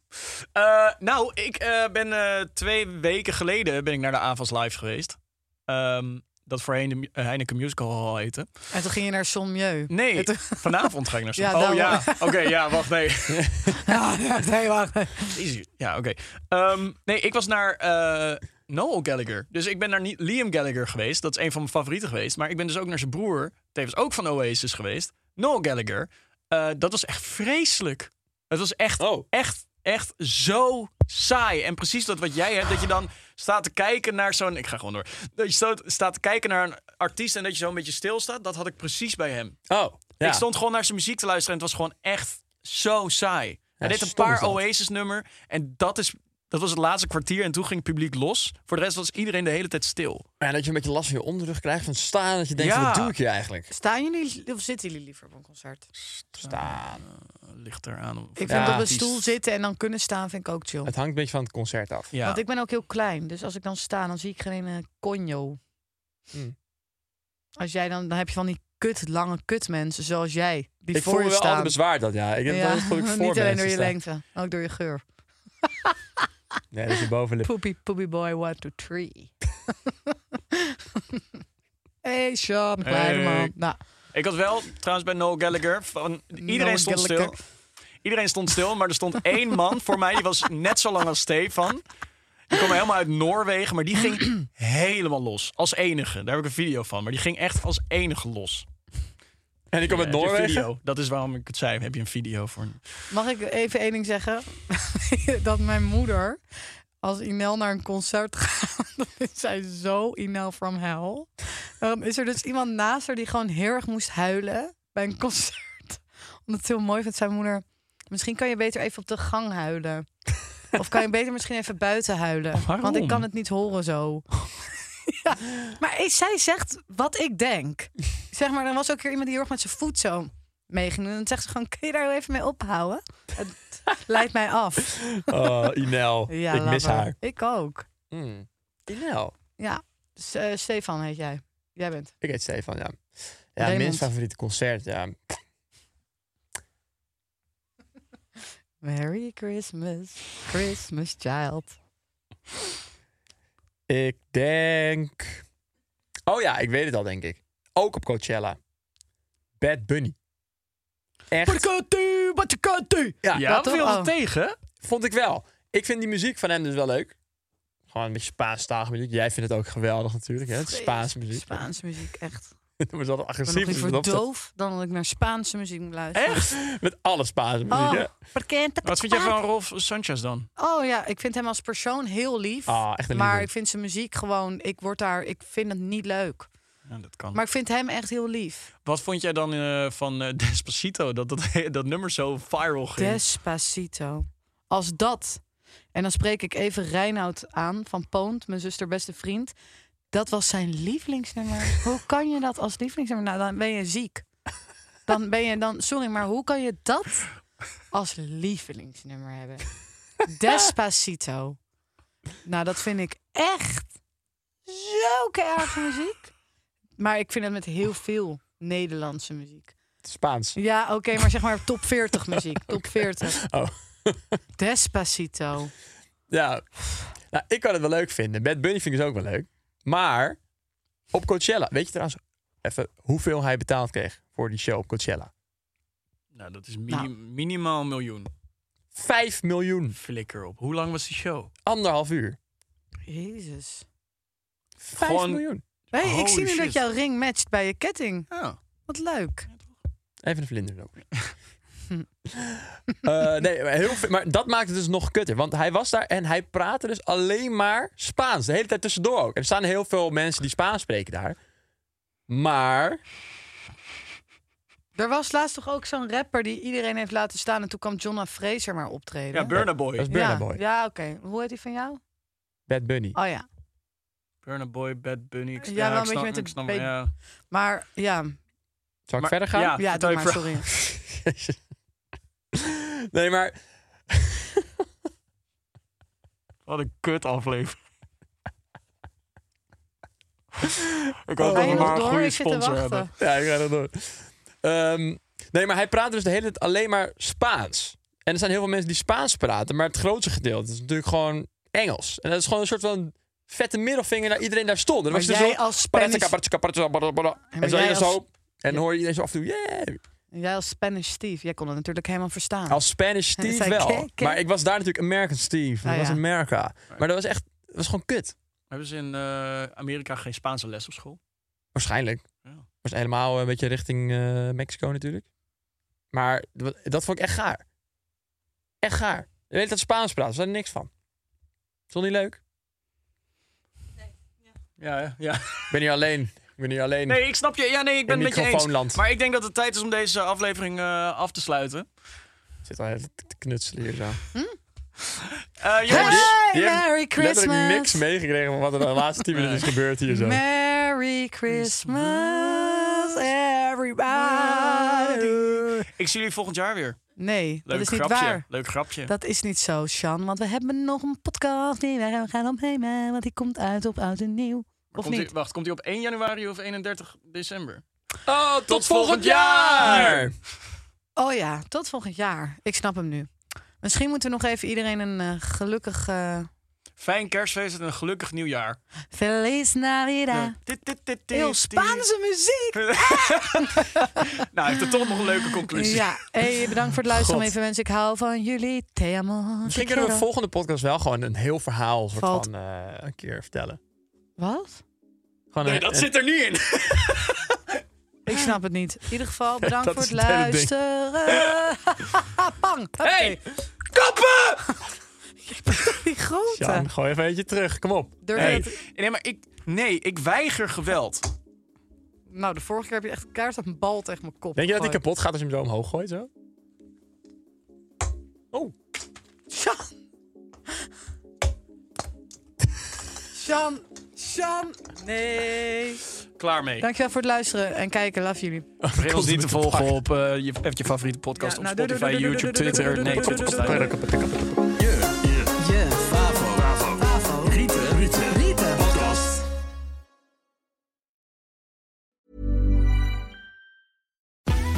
Speaker 4: Eh, nou, ik eh, ben eh, twee weken geleden ben ik naar de AFAS Live geweest. Ehm, dat voorheen de mu- eh, Heineken Musical Hall heette.
Speaker 6: En toen ging je naar Sommieu.
Speaker 4: Nee,
Speaker 6: Het-
Speaker 4: vanavond ga ik naar
Speaker 6: Ja,
Speaker 4: Stam- Oh ja,
Speaker 6: daarom.
Speaker 4: oké, ja, wacht, nee.
Speaker 6: Ja, nee, wacht.
Speaker 4: Jezus, Ja, oké. Ehm, nee, ik was naar eh, Noel Gallagher. Dus ik ben naar Ni- Liam Gallagher geweest. Dat is een van mijn favorieten geweest. Maar ik ben dus ook naar zijn broer, tevens ook van Oasis geweest. Noel Gallagher. Eh, dat was echt vreselijk. Het was echt,
Speaker 5: Oh.
Speaker 4: echt, echt zo saai. En precies dat wat jij hebt, dat je dan staat te kijken naar zo'n... Ik ga gewoon door. Dat je staat- staat te kijken naar een artiest en dat je zo'n beetje stilstaat. Dat had ik precies bij hem.
Speaker 5: Oh, ja.
Speaker 4: Ik stond gewoon naar zijn muziek te luisteren en het was gewoon echt zo saai. Hij deed een
Speaker 5: stom is
Speaker 4: paar
Speaker 5: dat.
Speaker 4: Oasis-nummer en dat, is, dat was het laatste kwartier en toen ging het publiek los. Voor de rest was iedereen de hele tijd stil.
Speaker 5: En dat je een beetje last van je onderrug krijgt van staan. Dat je denkt,
Speaker 4: Ja.
Speaker 5: wat doe ik hier eigenlijk?
Speaker 6: Staan jullie of zitten jullie liever op een concert?
Speaker 5: Staan.
Speaker 4: Ligt eraan. of-
Speaker 6: Ik
Speaker 5: Ja.
Speaker 6: vind op een
Speaker 4: artiest.
Speaker 6: stoel zitten en dan kunnen staan vind ik ook chill.
Speaker 5: Het hangt een beetje van het concert af.
Speaker 4: Ja.
Speaker 6: Want ik ben ook heel klein, dus als ik dan sta, dan zie ik geen eh conjo.
Speaker 5: Hmm.
Speaker 6: Als jij dan, dan heb je van die kut lange kut mensen zoals jij die
Speaker 5: Ik voel
Speaker 6: voor
Speaker 5: me
Speaker 6: je
Speaker 5: wel altijd
Speaker 6: staan.
Speaker 5: bezwaar dat, ja. Ik heb
Speaker 6: Ja,
Speaker 5: dat voel ik voor
Speaker 6: niet alleen
Speaker 5: mensen
Speaker 6: door je
Speaker 5: staan.
Speaker 6: lengte, ook door je geur.
Speaker 5: Nee, dat is je bovenlip.
Speaker 6: Poopy poopy boy one two three. hey Sean, kleine man.
Speaker 4: Hey.
Speaker 6: Nou,
Speaker 4: Ik had wel, trouwens bij Noel Gallagher, van, iedereen
Speaker 6: Noel
Speaker 4: stond
Speaker 6: Gallagher.
Speaker 4: stil. Iedereen stond stil, maar er stond één man voor mij, die was net zo lang als Stefan. Die kwam helemaal uit Noorwegen, maar die ging helemaal los. Als enige. Daar heb ik een video van, maar die ging echt als enige los.
Speaker 5: En ik kom uit
Speaker 4: Ja, heb je een
Speaker 5: Noorwegen.
Speaker 4: Video. Dat is waarom ik het zei. Heb je een video voor? een-
Speaker 6: Mag ik even één ding zeggen? dat mijn moeder, als Inel naar een concert gaat, dan is zij zo Inel from hell. Ehm, is er dus iemand naast haar die gewoon heel erg moest huilen bij een concert? Omdat het heel mooi vindt, zijn moeder. Misschien kan je beter even op de gang huilen. Of kan je beter misschien even buiten huilen?
Speaker 4: Waarom?
Speaker 6: Want ik kan het niet horen zo. ja, maar eh, zij zegt wat ik denk. Zeg maar, dan was ook weer iemand die heel erg met zijn voet zo mee ging doen. En dan zegt ze gewoon, kun je daar even mee ophouden? Het leidt mij af.
Speaker 5: Oh, Inel.
Speaker 6: Ja,
Speaker 5: ik mis
Speaker 6: laat maar.
Speaker 5: haar.
Speaker 6: Ik ook.
Speaker 5: Mm. Inel.
Speaker 6: Ja, S- eh, Stefan heet jij. Jij bent.
Speaker 5: Ik heet Stefan, ja. Ja,
Speaker 6: Raymond.
Speaker 5: mijn favoriete concert, ja.
Speaker 6: Merry Christmas, Christmas child.
Speaker 5: Ik denk... Oh ja, ik weet het al, denk ik. Ook op Coachella. Bad Bunny. Echt,
Speaker 4: u, wat kunt u.
Speaker 5: Ja,
Speaker 4: Ja, dat
Speaker 6: dat toch?
Speaker 4: viel
Speaker 6: Oh.
Speaker 4: het tegen.
Speaker 5: vond ik wel. Ik vind die muziek van hem dus wel leuk. Gewoon een beetje Spaanstalige muziek. Jij vindt het ook geweldig natuurlijk, hè? Het is Spaanse muziek.
Speaker 6: Spaanse muziek, echt.
Speaker 5: Het wordt
Speaker 6: Ik ben nog
Speaker 5: altijd agressief. als
Speaker 6: liever
Speaker 5: het opzet.
Speaker 6: doof dan dat ik naar Spaanse muziek moet luisteren.
Speaker 5: Met alle Spaanse muziek,
Speaker 6: Oh,
Speaker 5: hè?
Speaker 6: bekend.
Speaker 4: Wat vind jij van Rolf Sanchez dan?
Speaker 6: Oh ja, ik vind hem als persoon heel lief.
Speaker 5: Ah, echt een
Speaker 6: maar
Speaker 5: liefde.
Speaker 6: ik vind zijn muziek gewoon, ik word daar, ik vind het niet leuk.
Speaker 4: Ja, dat kan.
Speaker 6: Maar ik vind hem echt heel lief.
Speaker 4: Wat vond jij dan eh, van eh, Despacito? Dat, dat, dat nummer zo viral ging.
Speaker 6: Despacito. Als dat. En dan spreek ik even Reinoud aan van Poont, mijn zuster beste vriend. Dat was zijn lievelingsnummer. hoe kan je dat als lievelingsnummer? Nou, dan ben je ziek. Dan ben je dan, sorry, maar hoe kan je dat als lievelingsnummer hebben? Despacito. Nou, dat vind ik echt zulke erge muziek. Maar ik vind het met heel veel Nederlandse muziek.
Speaker 5: Spaans.
Speaker 6: Ja, oké, maar zeg maar top 40 muziek. Top 40.
Speaker 5: Oh.
Speaker 6: Despacito.
Speaker 5: Ja. Nou, ik kan het wel leuk vinden. Bad Bunny vind ik dus ook wel leuk. Maar op Coachella, weet je trouwens even hoeveel hij betaald kreeg voor die show op Coachella.
Speaker 4: Nou, dat is mini- minimaal een miljoen.
Speaker 5: 5 miljoen.
Speaker 4: Flikker op. Hoe lang was die show?
Speaker 5: Anderhalf uur.
Speaker 6: Jezus.
Speaker 5: 5
Speaker 4: Gewoon-
Speaker 5: miljoen.
Speaker 6: Hey, ik
Speaker 4: Holy
Speaker 6: zie nu dat
Speaker 4: shit.
Speaker 6: jouw ring matcht bij je ketting.
Speaker 4: Ja.
Speaker 6: Wat leuk.
Speaker 5: Even een vlinder ook. Eh, nee, maar, heel veel, maar dat maakt het dus nog kutter. Want hij was daar en hij praatte dus alleen maar Spaans. De hele tijd tussendoor ook. En er staan heel veel mensen die Spaans spreken daar. Maar
Speaker 6: Er was laatst toch ook zo'n rapper die iedereen heeft laten staan. En toen kwam Jonna Fraser maar optreden.
Speaker 4: Ja, Burna Boy.
Speaker 5: dat is Burna
Speaker 6: ja,
Speaker 5: Boy.
Speaker 6: ja oké. Hoe heet die van jou?
Speaker 5: Bad Bunny.
Speaker 6: Oh ja.
Speaker 4: Burna Boy, Bad Bunny. Ik,
Speaker 6: Ja,
Speaker 4: ja,
Speaker 6: wel
Speaker 4: ik
Speaker 6: een beetje
Speaker 4: snap-
Speaker 6: met
Speaker 4: ik
Speaker 6: de
Speaker 4: snap-
Speaker 6: be-
Speaker 4: ja.
Speaker 6: Maar ja,
Speaker 5: Zal ik
Speaker 4: Maar-
Speaker 5: verder gaan?
Speaker 4: ja.
Speaker 6: ja
Speaker 4: vertel
Speaker 6: doe
Speaker 4: je
Speaker 6: maar,
Speaker 4: verhaal.
Speaker 6: sorry.
Speaker 5: Jezus. nee, maar
Speaker 4: Wat een kut aflevering. ik
Speaker 5: Ga
Speaker 4: hoop
Speaker 6: Ga
Speaker 4: dat
Speaker 6: je
Speaker 4: we maar
Speaker 6: nog
Speaker 4: een
Speaker 6: door?
Speaker 4: goede
Speaker 6: Ik zit te
Speaker 4: sponsor hebben.
Speaker 6: wachten.
Speaker 5: Ja, ik ga dat door. Ehm, nee, maar hij praat dus de hele tijd alleen maar Spaans. En er zijn heel veel mensen die Spaans praten, maar het grootste gedeelte is natuurlijk gewoon Engels. En dat is gewoon een soort van vette middelvinger naar iedereen daar stond. En dan
Speaker 6: Maar
Speaker 5: was het dus
Speaker 6: jij
Speaker 5: zo,
Speaker 6: als
Speaker 5: "Parataka,
Speaker 6: Spanish-
Speaker 5: parataka, parataka, parataka."
Speaker 6: maar
Speaker 5: En zo,
Speaker 6: jij
Speaker 5: en
Speaker 6: als-
Speaker 5: zo. En dan hoor je iedereen zo af en toe, yeah.
Speaker 6: Jij als Spanish Steve, jij kon het natuurlijk helemaal verstaan.
Speaker 5: Als Spanish
Speaker 6: Dat
Speaker 5: Steve
Speaker 6: Ah. zei ik,
Speaker 5: wel.
Speaker 6: "Kijk, kijk."
Speaker 5: Maar ik was daar natuurlijk American Steve. Dat
Speaker 6: Ah,
Speaker 5: was
Speaker 6: ja.
Speaker 5: America. Maar dat was echt, dat was gewoon kut.
Speaker 4: Hebben ze in eh, Amerika geen Spaanse les op school?
Speaker 5: Waarschijnlijk.
Speaker 4: Ja.
Speaker 5: Was helemaal een beetje richting eh, Mexico natuurlijk. Maar dat- dat vond ik echt gaar. Echt gaar. Je weet dat Spaans praten, daar er niks van. Is dat niet leuk?
Speaker 4: Ja, hè? ja.
Speaker 5: Ik ben hier alleen. Ik ben hier alleen.
Speaker 4: Nee, ik snap je. Ja, nee, ik ben
Speaker 5: In
Speaker 4: het met je eens.
Speaker 5: microfoonland.
Speaker 4: Maar ik denk dat het tijd is om deze aflevering eh, af te sluiten.
Speaker 5: Ik zit al even te knutselen hier zo.
Speaker 4: Eh, jongens,
Speaker 6: Hey,
Speaker 5: Die hebben
Speaker 6: Merry
Speaker 5: Letterlijk
Speaker 6: Christmas!
Speaker 5: niks meegekregen van wat er de laatste tien minuten is gebeurd hier zo.
Speaker 6: Merry Christmas, everybody!
Speaker 4: ik zie jullie volgend jaar weer.
Speaker 6: Nee,
Speaker 4: Leuk
Speaker 6: dat is niet
Speaker 4: grapje.
Speaker 6: waar.
Speaker 4: Leuk grapje.
Speaker 6: Dat is niet zo, Sjan. Want we hebben nog een podcast die we gaan opnemen. Want die komt uit op oud en nieuw. Of
Speaker 4: komt
Speaker 6: niet?
Speaker 4: Die, wacht, komt hij op 1 januari of 31 december?
Speaker 5: Oh, tot, volgend
Speaker 4: volgend
Speaker 5: jaar!
Speaker 4: jaar!
Speaker 6: Oh ja, tot volgend jaar. Ik snap hem nu. Misschien moeten we nog even iedereen een eh, gelukkig... eh,
Speaker 4: Fijn kerstfeest en een gelukkig nieuwjaar.
Speaker 6: Feliz Navidad.
Speaker 4: Dit, dit, dit, dit,
Speaker 6: Heel
Speaker 4: dit.
Speaker 6: Spaanse muziek!
Speaker 4: Nou, heeft er toch nog een leuke conclusie.
Speaker 6: Ja, hey, bedankt voor het luisteren,
Speaker 5: God.
Speaker 6: lieve mensen. Ik hou van jullie. Te amo.
Speaker 5: Misschien
Speaker 6: te
Speaker 5: kunnen we
Speaker 6: quiero.
Speaker 5: volgende podcast wel gewoon een heel verhaal soort
Speaker 6: Valt.
Speaker 5: van, eh, een keer vertellen.
Speaker 6: Wat?
Speaker 5: Gewoon
Speaker 4: Nee,
Speaker 5: een-
Speaker 4: dat
Speaker 5: een-
Speaker 4: zit er niet in.
Speaker 6: Ik snap het niet. Ah. In ieder geval, bedankt
Speaker 5: Dat
Speaker 6: voor het
Speaker 5: is het hele ding.
Speaker 6: luisteren. Bang!
Speaker 4: Hey,
Speaker 6: Hoppakee.
Speaker 4: kappen!
Speaker 6: Die grote.
Speaker 5: Sjan, gooi even eentje terug. Kom op.
Speaker 6: Durf je
Speaker 5: Hey.
Speaker 6: dat-
Speaker 4: Nee, maar ik, nee, ik weiger geweld.
Speaker 6: Nou, de vorige keer heb je echt een kaart op een bal tegen mijn kop
Speaker 5: Denk je dat hij
Speaker 6: gegooid.
Speaker 5: kapot gaat als je hem zo omhoog gooit? Zo? Oh,
Speaker 6: Sjan! Sjan! Sjan! Nee!
Speaker 4: Klaar mee.
Speaker 6: Dankjewel voor het luisteren en kijken. Love jullie.
Speaker 4: Vergeet ons niet te volgen op eh, je, even je favoriete podcast
Speaker 6: Ja,
Speaker 4: op
Speaker 6: nou, doe, doe,
Speaker 4: Spotify,
Speaker 6: doe, doe,
Speaker 4: YouTube,
Speaker 6: doe, doe, doe,
Speaker 4: Twitter.
Speaker 6: doe,
Speaker 4: Nee,
Speaker 6: doe,
Speaker 4: ik
Speaker 6: doe,
Speaker 4: zit
Speaker 6: doe,
Speaker 4: op
Speaker 6: doe, doe,
Speaker 4: Spotify.